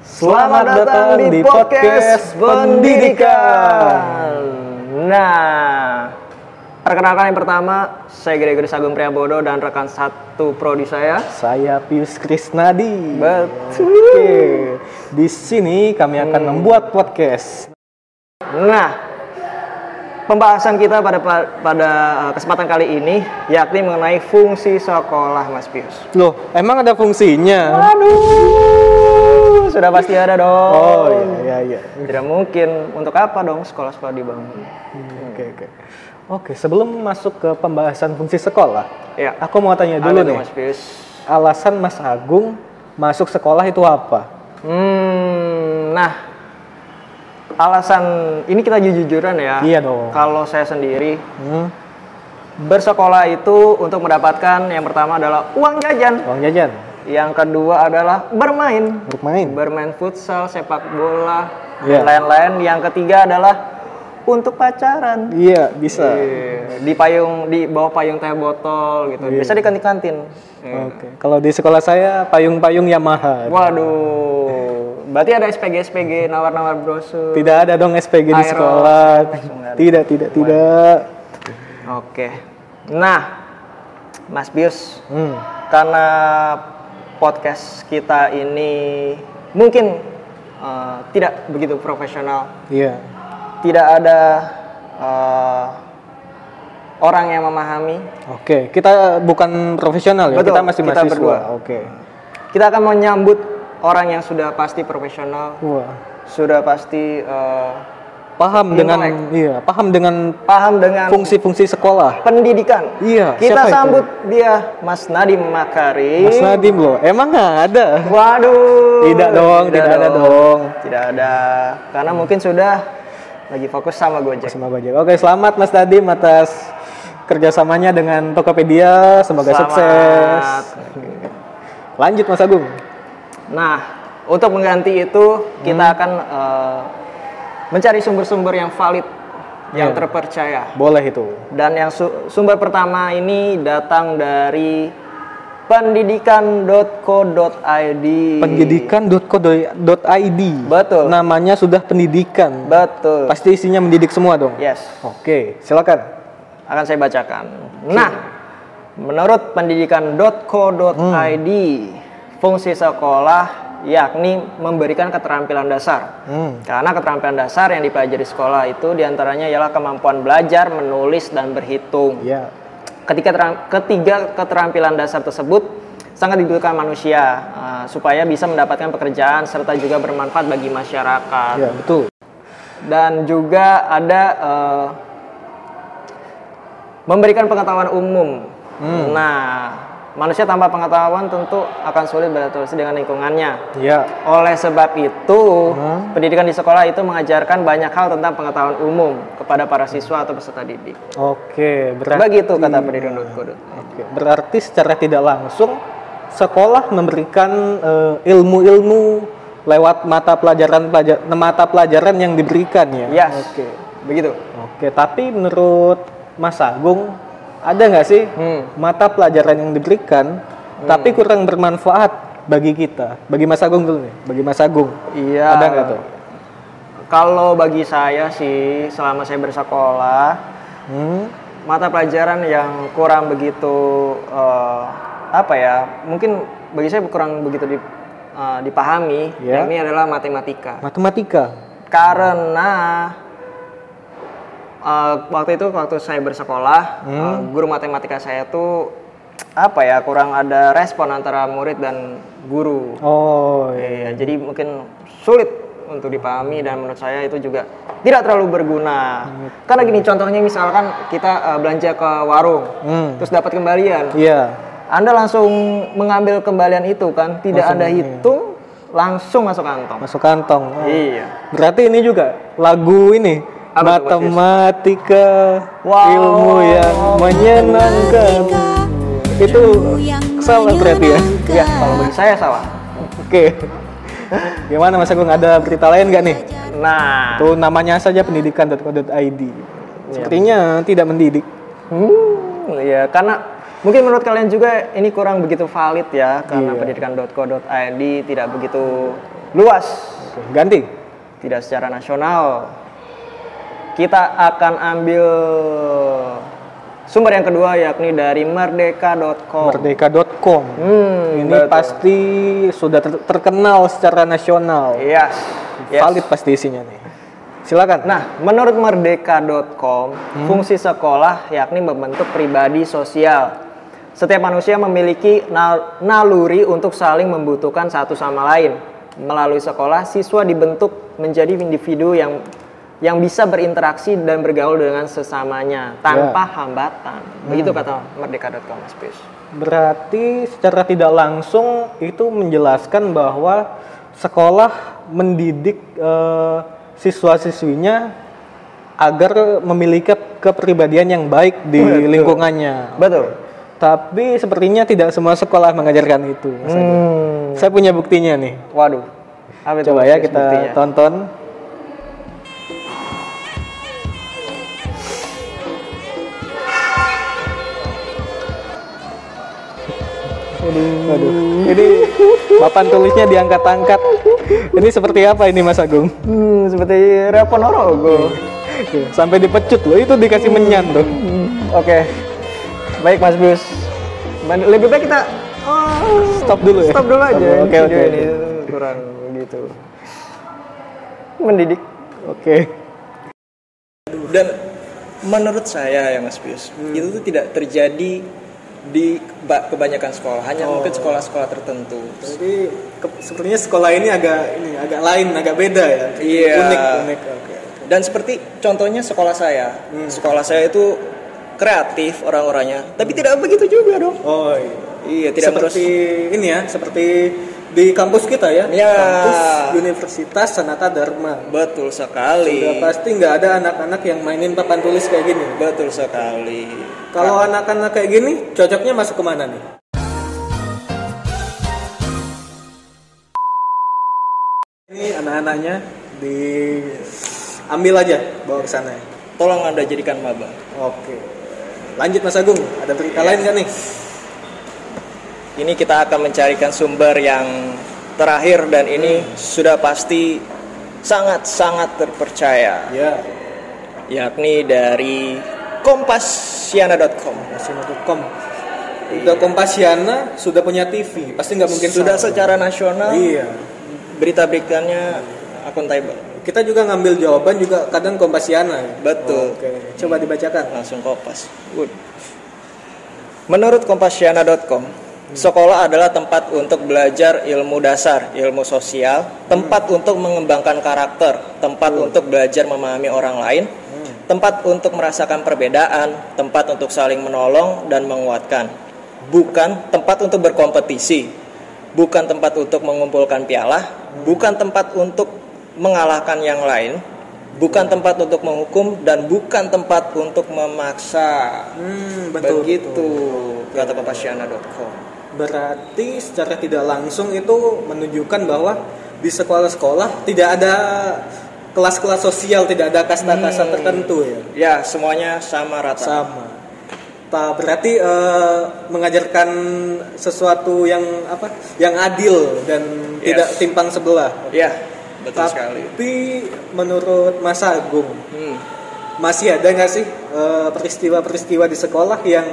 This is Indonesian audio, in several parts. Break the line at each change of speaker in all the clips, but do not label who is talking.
Selamat datang di podcast pendidikan. Nah, perkenalkan yang pertama, saya Gregory Sagung Priambodo dan rekan satu prodi saya.
Saya Pius Krisnadi.
Betul.
Oke. Di sini kami akan membuat podcast.
Nah, pembahasan kita pada pada eh, kesempatan kali ini yakni mengenai fungsi sekolah Mas Pius.
Loh, emang ada fungsinya?
Aduh, sudah pasti ada dong.
Oh, iya iya iya.
Tidak mungkin. Untuk apa dong sekolah-sekolah dibangun?
Oke oke. Oke, sebelum masuk ke pembahasan fungsi sekolah,
Ya.
aku mau tanya
Ada
dulu
tuh,
nih.
Mas Pius.
Alasan Mas Agung masuk sekolah itu apa?
Hmm, nah, alasan ini kita jujur-jujuran ya.
Iya dong.
Kalau saya sendiri
Hmm,
bersekolah itu untuk mendapatkan yang pertama adalah uang jajan,
uang jajan,
yang kedua adalah bermain,
bermain.
bermain futsal, sepak bola, dan
Iya.
lain-lain. Yang ketiga adalah untuk pacaran.
Iya, bisa.
Iya, Di payung, di bawah payung teh botol gitu. Bisa di kantin-kantin. Iya.
Oke. Kalau di sekolah saya payung-payung Yamaha.
Waduh, berarti ada SPG-SPG nawar-nawar brosur.
Tidak ada dong SPG
Aero.
di sekolah. Tidak, tidak, tidak.
Oke. Nah, Mas Bius,
Hmm.
karena podcast kita ini mungkin eh, tidak begitu profesional,
Iya.
tidak ada eh, orang yang memahami.
Oke, kita bukan profesional ya.
Betul,
Kita masih
kita
mahasiswa.
berdua.
Oke.
Kita akan menyambut orang yang sudah pasti profesional,
Wah.
sudah pasti eh,
Paham dengan iya, paham dengan
paham dengan
fungsi-fungsi sekolah.
pendidikan.
Iya,
Kita
siapa itu?
sambut dia Mas Nadiem Makarim.
Mas Nadim loh, emang nggak ada.
Waduh.
Tidak dong, tidak, ada dong.
Tidak ada. Karena mungkin sudah lagi fokus sama Gojek.
Sama Gojek. Oke, selamat Mas Nadim atas kerjasamanya dengan Tokopedia. Semoga
Selamat.
sukses. Lanjut Mas Agung.
Nah, untuk mengganti itu kita akan eh, mencari sumber-sumber yang valid, yang terpercaya.
Boleh itu.
Dan yang su- sumber pertama ini datang dari pendidikan.co.id.
Pendidikan.co.id.
Betul.
Namanya sudah pendidikan.
Betul. Ya.
Pasti isinya mendidik semua dong.
Yes.
Oke, silakan.
akan saya bacakan. Nah, menurut pendidikan.co.id, fungsi sekolah yakni memberikan keterampilan dasar.
Hmm.
Karena keterampilan dasar yang dipelajari sekolah itu diantaranya ialah kemampuan belajar, menulis, dan berhitung.
Ya.
Ketika teram- ketiga keterampilan dasar tersebut sangat dibutuhkan manusia eh, supaya bisa mendapatkan pekerjaan serta juga bermanfaat bagi masyarakat
Ya, betul.
dan juga ada eh, memberikan pengetahuan umum.
Hmm.
Nah, manusia tanpa pengetahuan tentu akan sulit beradaptasi dengan lingkungannya.
Ya.
Oleh sebab itu,
Hmm.
pendidikan di sekolah itu mengajarkan banyak hal tentang pengetahuan umum kepada para siswa atau peserta didik.
Oke, berarti
Begitu kata pendidikan.co.id.
Oke, berarti secara tidak langsung sekolah memberikan eh, ilmu-ilmu lewat mata pelajaran pelajar- mata pelajaran yang diberikan ya.
Yes.
Oke.
Begitu.
Oke, tapi menurut Mas Agung ada nggak sih
Hmm.
mata pelajaran yang diberikan tapi kurang bermanfaat bagi kita? Bagi Mas Agung dulu nih, bagi Mas Agung. Nah,
Iya.
Ada nggak tuh?
Kalau bagi saya sih selama saya bersekolah,
Hmm.
mata pelajaran yang kurang begitu eh, apa ya mungkin bagi saya kurang begitu di- eh, dipahami
Ya.
ini adalah matematika
Matematika.
karena eh, waktu itu waktu saya bersekolah eh, guru matematika saya tuh apa ya kurang ada respon antara murid dan guru
Oh, iya.
Iya, jadi mungkin sulit untuk dipahami dan menurut saya itu juga tidak terlalu berguna. Karena gini contohnya misalkan kita eh, belanja ke warung,
Hmm.
terus dapat kembalian.
Iya.
Anda langsung mengambil kembalian itu kan, tidak Anda hitung, langsung masuk kantong.
Masuk kantong. Oh.
Iya.
Berarti ini juga lagu ini
Apa tuh, Mas Yus?
matematika
Wow.
ilmu yang menyenangkan. Itu salah berarti ya.
Ya, kalau bagi saya salah.
Oke. Gimana Mas Agung ada berita lain nggak nih?
Nah,
Tuh namanya saja pendidikan.co.id. Iya. Sepertinya tidak mendidik.
Hmm, ya karena mungkin menurut kalian juga ini kurang begitu valid ya karena pendidikan.co.id tidak begitu luas,
Ganti.
tidak secara nasional. Kita akan ambil sumber yang kedua yakni dari merdeka.com.
Merdeka.com.
Hmm,
Ini
betul.
pasti sudah ter- terkenal secara nasional.
Yes. yes.
Valid pasti isinya nih. Silakan.
Nah, menurut merdeka.com,
Hmm.
fungsi sekolah yakni membentuk pribadi sosial. Setiap manusia memiliki nal- naluri untuk saling membutuhkan satu sama lain. Melalui sekolah, siswa dibentuk menjadi individu yang yang bisa berinteraksi dan bergaul dengan sesamanya tanpa
Ya.
hambatan.
Hmm.
Begitu kata merdeka.com, Mas Pius.
Berarti secara tidak langsung itu menjelaskan bahwa sekolah mendidik eh, siswa-siswinya agar memiliki kepribadian yang baik di lingkungannya.
Betul.
Tapi sepertinya tidak semua sekolah mengajarkan itu. Mas Adi. Saya punya buktinya nih.
Hmm. Waduh. Apa itu, Mas
Coba ya
Pius,
kita
buktinya?
tonton. Waduh, ini papan tulisnya diangkat-angkat. Ini seperti apa ini Mas Agung?
Hmm, seperti Repon Orogo.
Hmm. Sampai dipecut loh, itu dikasih menyan tuh.
Oke. Baik Mas Bus. Men- Lebih baik kita oh,
Stop dulu ya?
Stop dulu aja.
Stop dulu.
ini
Oke,
video
oke,
ini kurang gitu. Mendidik.
Oke.
Dan menurut saya ya Mas Pius, itu tuh tidak terjadi di ba- kebanyakan sekolah, hanya mungkin sekolah-sekolah tertentu.
Jadi sepertinya sekolah ini agak ini agak lain, agak beda ya.
Iya. Unik, unik.
Oke.
Dan seperti contohnya sekolah saya, sekolah saya itu kreatif orang-orangnya, tapi tidak begitu juga dong.
Oh iya.
Hmm. Iya, tidak
seperti ini ya, seperti di kampus kita ya.
Ya.
Kampus Universitas Sanata Dharma.
Betul sekali.
Udah pasti nggak ada anak-anak yang mainin papan tulis kayak gini.
Betul sekali.
Kalau
Kan.
anak-anak kayak gini, cocoknya masuk kemana nih? Ini anak-anaknya di ambil aja bawa ke sana.
tolong Anda jadikan maba.
Oke. Lanjut Mas Agung, ada berita lain nggak nih?
Ini kita akan mencarikan sumber yang terakhir dan ini sudah pasti sangat-sangat terpercaya
Ya,
yakni dari kompasiana.com.
Kompasiana.com Udah Kompasiana sudah punya TV, pasti nggak mungkin
Sudah
salah.
secara nasional
Iya.
berita-beritanya akuntabel.
Kita juga ngambil jawaban juga kadang Kompasiana. ya?
Betul.
Oke. Coba dibacakan.
Langsung kopas. Good. Menurut kompasiana.com, sekolah adalah tempat untuk belajar ilmu dasar, ilmu sosial, tempat untuk mengembangkan karakter, tempat untuk belajar memahami orang lain, tempat untuk merasakan perbedaan, tempat untuk saling menolong dan menguatkan. Bukan tempat untuk berkompetisi, bukan tempat untuk mengumpulkan piala, bukan tempat untuk mengalahkan yang lain, bukan tempat untuk menghukum dan bukan tempat untuk memaksa.
Hmm, betul.
Begitu kata kompasiana.com.
Berarti secara tidak langsung itu menunjukkan bahwa di sekolah-sekolah tidak ada kelas-kelas sosial, tidak ada kasta-kasta
Hmm.
tertentu ya.
Ya, semuanya sama rata.
Sama. Ta, berarti eh, mengajarkan sesuatu yang apa? Yang adil dan
Yes.
tidak timpang sebelah.
ya, betul sekali.
Tapi menurut Mas Agung
Hmm.
masih ada nggak sih eh, peristiwa-peristiwa di sekolah yang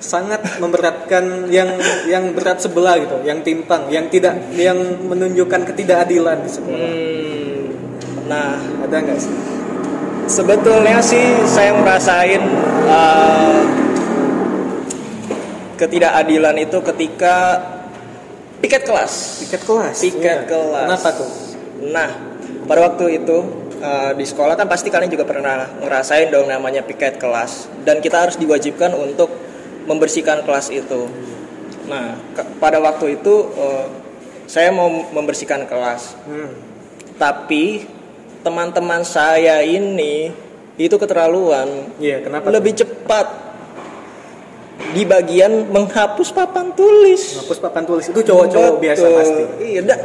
sangat memberatkan yang yang berat sebelah gitu, yang timpang, yang tidak yang menunjukkan ketidakadilan di sekolah.
Hmm. Nah,
Ada nggak sih?
sebetulnya sih saya ngerasain eh, ketidakadilan itu ketika piket kelas.
Tiket kelas.
Tiket
Iya.
kelas.
Kenapa tuh?
Nah, pada waktu itu eh, di sekolah kan pasti kalian juga pernah ngerasain dong namanya piket kelas dan kita harus diwajibkan untuk membersihkan kelas itu. Nah, ke- pada waktu itu eh, saya mau membersihkan kelas,
Hmm.
tapi teman-teman saya ini itu keterlaluan
Iya, kenapa? tuh?
lebih cepat di bagian menghapus papan tulis.
Hapus papan tulis itu cowok-cowok
Betul.
biasa pasti.
Iya, dan,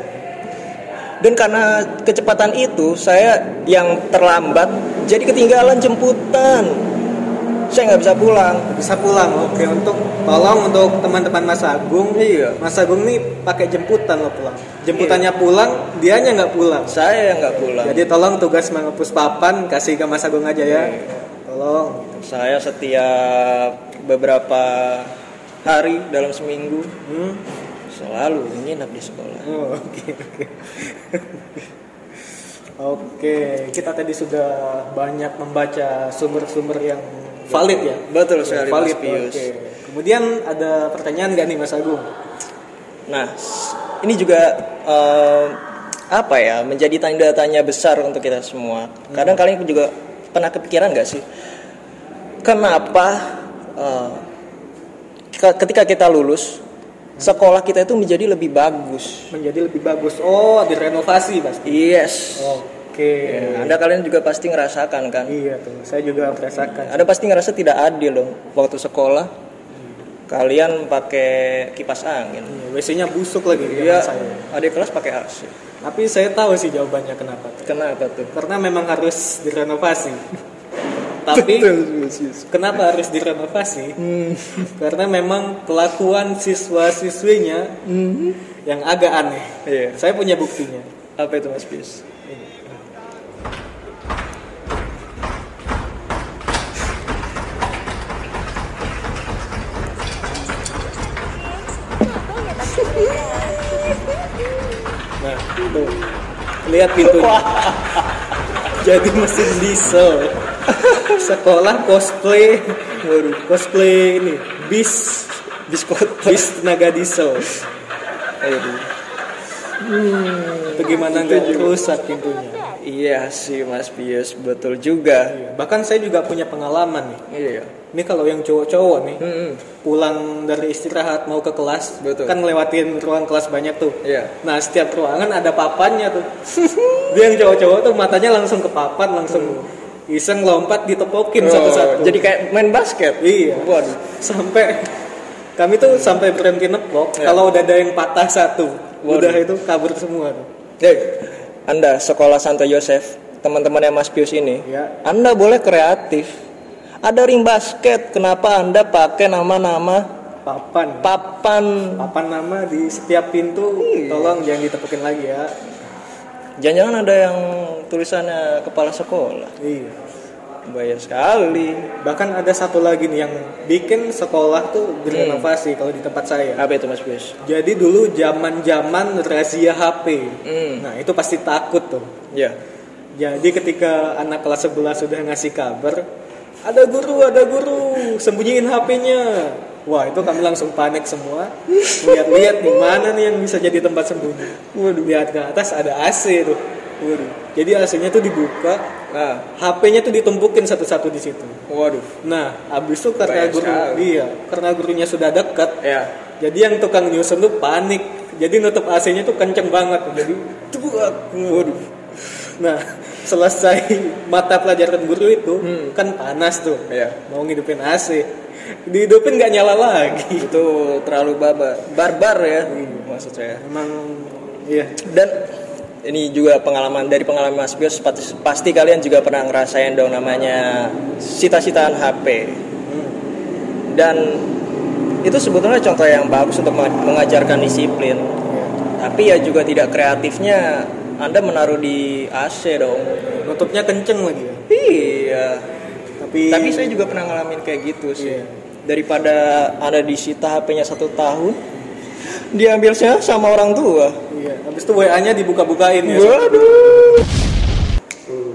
dan karena kecepatan itu saya yang terlambat jadi ketinggalan jemputan.
saya nggak bisa pulang
bisa pulang oke untuk tolong untuk teman-teman Mas Agung
Iya.
Mas Agung nih pakai jemputan lo pulang jemputannya pulang dianya nggak pulang
saya yang nggak pulang
jadi tolong tugas mengepus papan kasih ke Mas Agung aja ya
Iya.
tolong
saya setiap beberapa hari dalam seminggu
hmm.
selalu nginap di sekolah
Oh, oke oke oke kita tadi sudah banyak membaca sumber-sumber yang valid ya
betul sekali Mas
valid
Pius.
oke. kemudian ada pertanyaan nggak nih Mas Agung
Nah, s- ini juga eh, apa ya menjadi tanda tanya besar untuk kita semua. Kadang kalian juga pernah kepikiran nggak sih, kenapa eh, ke- ketika kita lulus sekolah kita itu menjadi lebih bagus?
menjadi lebih bagus oh direnovasi pasti
Yes.
Oke.
Anda Hmm. kalian juga pasti ngerasakan kan?
Iya tuh, saya juga merasakan.
Anda pasti ngerasa tidak adil dong waktu sekolah Hmm. kalian pakai kipas angin.
Iya, WC-nya busuk lagi ya
Iya,
saya.
adik kelas pakai AC.
Tapi saya tahu sih jawabannya kenapa. tuh.
Kenapa tuh?
Karena memang harus direnovasi. Tapi kenapa harus direnovasi?
Hmm.
Karena memang kelakuan siswa-siswinya yang agak aneh.
Hmm. Iya.
Saya punya buktinya.
Apa itu Mas Pius?
Nah, tuh. Lihat pintunya. Jadi mesin diesel. Sekolah cosplay, waduh, cosplay ini bis
Biskot.
bis tenaga diesel.
Aduh.
Itu gimana nggak rusak pintunya?
Iya sih Mas Pius, betul juga.
Iya. Bahkan saya juga punya pengalaman nih.
Iya.
Ini kalau yang cowok-cowok nih,
Mm-mm.
pulang dari istirahat mau ke kelas,
Betul.
kan ngelewatin ruang kelas banyak tuh.
Iya.
Nah setiap ruangan ada papannya tuh. Dia yang cowok-cowok tuh matanya langsung ke papan, langsung iseng lompat ditepokin satu-satu.
Mm. Oh, Jadi kayak main basket.
Iya.
Waduh. Mm.
sampai kami tuh sampai berhenti nepok.
Iya.
Kalau udah ada yang patah satu,
Waduh.
udah itu kabur semua tuh.
Hey, Anda sekolah Santo Yosef, teman-temannya Mas Pius ini,
Iya.
Anda boleh kreatif. Ada ring basket, kenapa Anda pakai nama-nama
Papan.
papan?
papan nama di setiap pintu
Iya.
tolong jangan ditepukin lagi ya
Jangan-jangan ada yang tulisannya kepala sekolah.
iya
Bahaya sekali.
bahkan ada satu lagi nih yang bikin sekolah tuh direnovasi kalau di tempat saya
Apa itu Mas Pius?
jadi dulu zaman zaman razia HP
Hmm.
nah itu pasti takut tuh
Ya.
jadi ketika anak kelas 11 sudah ngasih kabar ada guru ada guru sembunyiin HP-nya wah itu kami langsung panik semua lihat-lihat di mana nih yang bisa jadi tempat sembunyi waduh lihat ke atas ada AC tuh waduh Ah. jadi AC-nya tuh dibuka
Nah,
HP-nya tuh ditumpukin satu-satu di situ.
waduh.
Nah, abis itu karena
Banyak
guru
sekali.
iya, karena gurunya sudah dekat,
Ya.
jadi yang tukang nyusun tuh panik. Jadi nutup AC-nya tuh kenceng banget. Jadi tuak. Waduh. Nah, selesai mata pelajaran guru itu kan panas tuh.
Hmm. Iya.
Mau ngidupin AC. Dihidupin nggak nyala lagi.
itu terlalu baba barbar ya maksud saya
Emang iya.
dan ini juga pengalaman dari pengalaman Mas Bios pasti, pasti kalian juga pernah ngerasain dong namanya cita-citaan HP dan itu sebetulnya contoh yang bagus untuk meng- mengajarkan disiplin tapi ya juga tidak kreatifnya anda menaruh di AC dong
Nutupnya kenceng lagi. ya.
iya
Tapi
tapi saya juga pernah ngalamin kayak gitu sih
Iya.
daripada ada disita HP-nya satu tahun diambilnya sama orang tua
iya, habis itu WA-nya dibuka-bukain ya.
waduh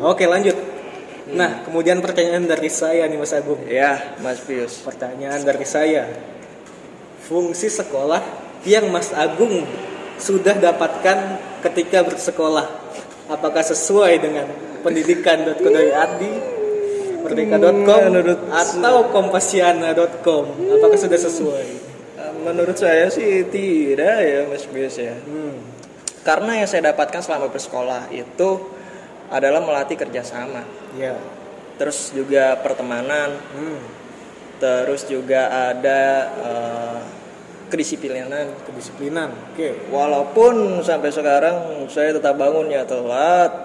Oke lanjut. Nah kemudian pertanyaan dari saya nih Iya, Mas Agung.
ya Mas Pius
Pertanyaan dari saya. Fungsi sekolah yang Mas Agung sudah dapatkan ketika bersekolah. Apakah sesuai dengan pendidikan.co.id, merdeka.com,
Menurut-
atau kompasiana.com? Apakah sudah sesuai?
Eh, menurut saya sih tidak ya Mas Pius ya
Hmm.
karena yang saya dapatkan selama bersekolah itu adalah melatih kerjasama
Ya.
terus juga pertemanan
Hmm.
terus juga ada eh, kedisiplinan
Kedisiplinan. Oke.
Walaupun sampai sekarang saya tetap bangunnya telat, ya,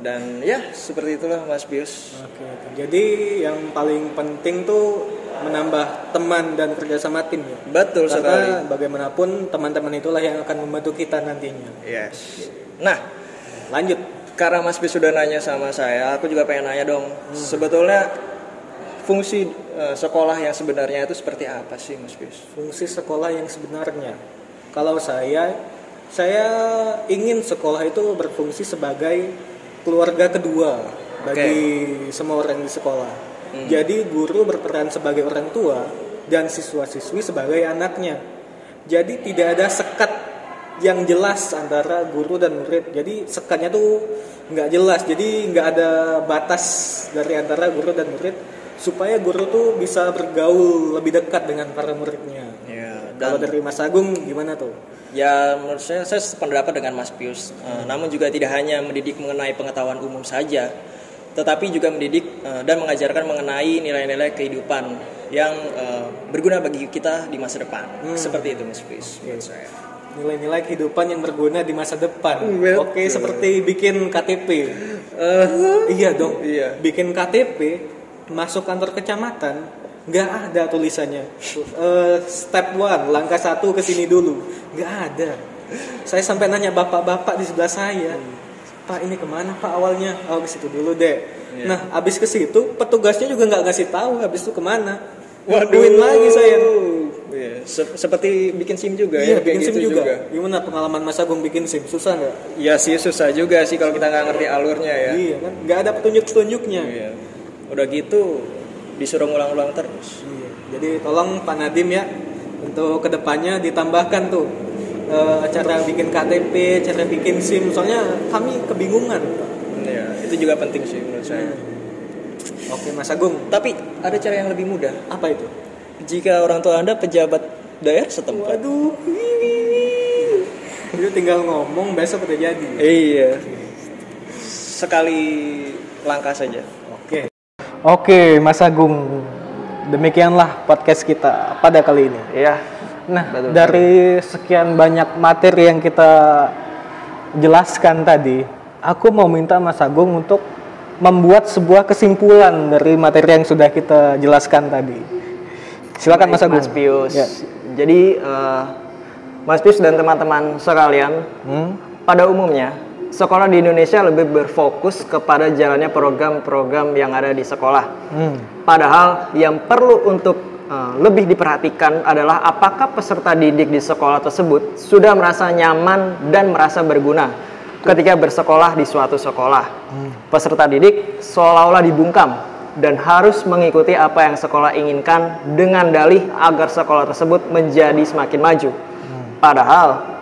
dan ya seperti itulah Mas Bios
Oke, oke. jadi yang paling penting tuh menambah teman dan kerjasama tim ya.
betul sekali
Karena bagaimanapun teman-teman itulah yang akan membantu kita nantinya.
yes nah
Lanjut.
karena Mas Bis sudah nanya sama saya, aku juga pengen nanya dong.
Hmm.
Sebetulnya fungsi eh, sekolah yang sebenarnya itu seperti apa sih, Mas Bis?
fungsi sekolah yang sebenarnya. Kalau saya, saya ingin sekolah itu berfungsi sebagai keluarga kedua bagi semua orang di sekolah. Jadi guru berperan sebagai orang tua dan siswa-siswi sebagai anaknya. Jadi tidak ada sekat yang jelas antara guru dan murid. Jadi sekatnya tuh nggak jelas. Jadi nggak ada batas dari antara guru dan murid supaya guru tuh bisa bergaul lebih dekat dengan para muridnya.
Ya,
Kalau dari Mas Agung gimana tuh?
Ya menurut saya saya sependapat dengan Mas Pius.
Hmm.
Eh, namun juga tidak hanya mendidik mengenai pengetahuan umum saja, tetapi juga mendidik eh, dan mengajarkan mengenai nilai-nilai kehidupan yang eh, berguna bagi kita di masa depan.
Hmm.
Seperti itu Mas Pius
Ya.
menurut saya.
Nilai-nilai kehidupan yang berguna di masa depan.
Betul. Eh.
Oke, seperti bikin KTP. iya dong.
Iya.
Bikin KTP masuk kantor kecamatan nggak ada tulisannya. Eh, step one, langkah satu ke sini dulu. Nggak ada. Saya sampai nanya bapak-bapak di sebelah saya. Pak ini kemana Pak awalnya? Oh ke situ dulu deh.
Iya.
Nah abis ke situ petugasnya juga nggak ngasih tahu habis itu kemana. Nungguin lagi saya.
Iya, se- seperti bikin SIM juga
Iya,
ya, kayak
bikin SIM
gitu
juga. Gimana pengalaman Mas Agung bikin SIM? Susah nggak?
Ya sih susah juga sih kalau kita nggak ngerti alurnya ya.
Iya kan? Nggak ada petunjuk-petunjuknya.
Iya. Udah gitu disuruh ngulang-ulang terus.
Iya. Jadi tolong Pak Nadim ya untuk kedepannya ditambahkan tuh eh, cara bikin KTP, cara bikin SIM. Soalnya kami kebingungan.
Iya, itu juga penting sih menurut
Iya.
saya.
Oke Mas Agung,
Tapi ada cara yang lebih mudah.
apa itu?
Jika orang tua Anda pejabat daerah setempat.
Waduh, itu tinggal ngomong besok udah jadi.
Iya. Sekali langkah saja.
Oke. Oke Mas Agung, demikianlah podcast kita pada kali ini.
Iya.
Nah,
Betul.
dari sekian banyak materi yang kita jelaskan tadi, aku mau minta Mas Agung untuk membuat sebuah kesimpulan dari materi yang sudah kita jelaskan tadi. Silakan Mas
Baik,
Agung.
Mas Pius.
Ya.
Jadi eh, Mas Pius dan teman-teman sekalian,
Hmm?
pada umumnya sekolah di Indonesia lebih berfokus kepada jalannya program-program yang ada di sekolah.
Hmm.
Padahal yang perlu untuk eh, lebih diperhatikan adalah apakah peserta didik di sekolah tersebut sudah merasa nyaman dan merasa berguna ketika bersekolah di suatu sekolah.
Hmm.
Peserta didik seolah-olah dibungkam dan harus mengikuti apa yang sekolah inginkan dengan dalih agar sekolah tersebut menjadi semakin maju. Padahal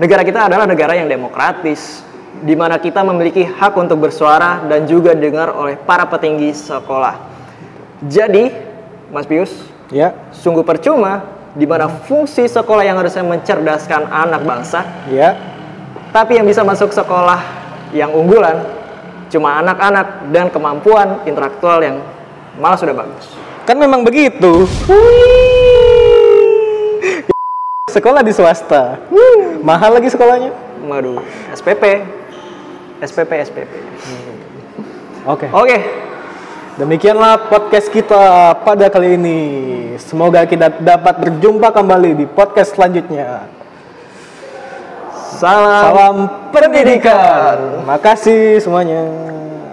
Negara kita adalah negara yang demokratis, di mana kita memiliki hak untuk bersuara dan juga dengar oleh para petinggi sekolah. Jadi, Mas Pius,
Ya.
sungguh percuma di mana fungsi sekolah yang harusnya mencerdaskan anak bangsa,
Ya.
tapi yang bisa masuk sekolah yang unggulan cuma anak-anak dan kemampuan intelektual yang malah sudah bagus.
Kan memang begitu. Sekolah di swasta. Mahal lagi sekolahnya.
Waduh, SPP, SPP, SPP.
Oke.
Oke,
Demikianlah podcast kita pada kali ini. Semoga kita dapat berjumpa kembali di podcast selanjutnya.
salam.
Salam pendidikan. Makasih semuanya.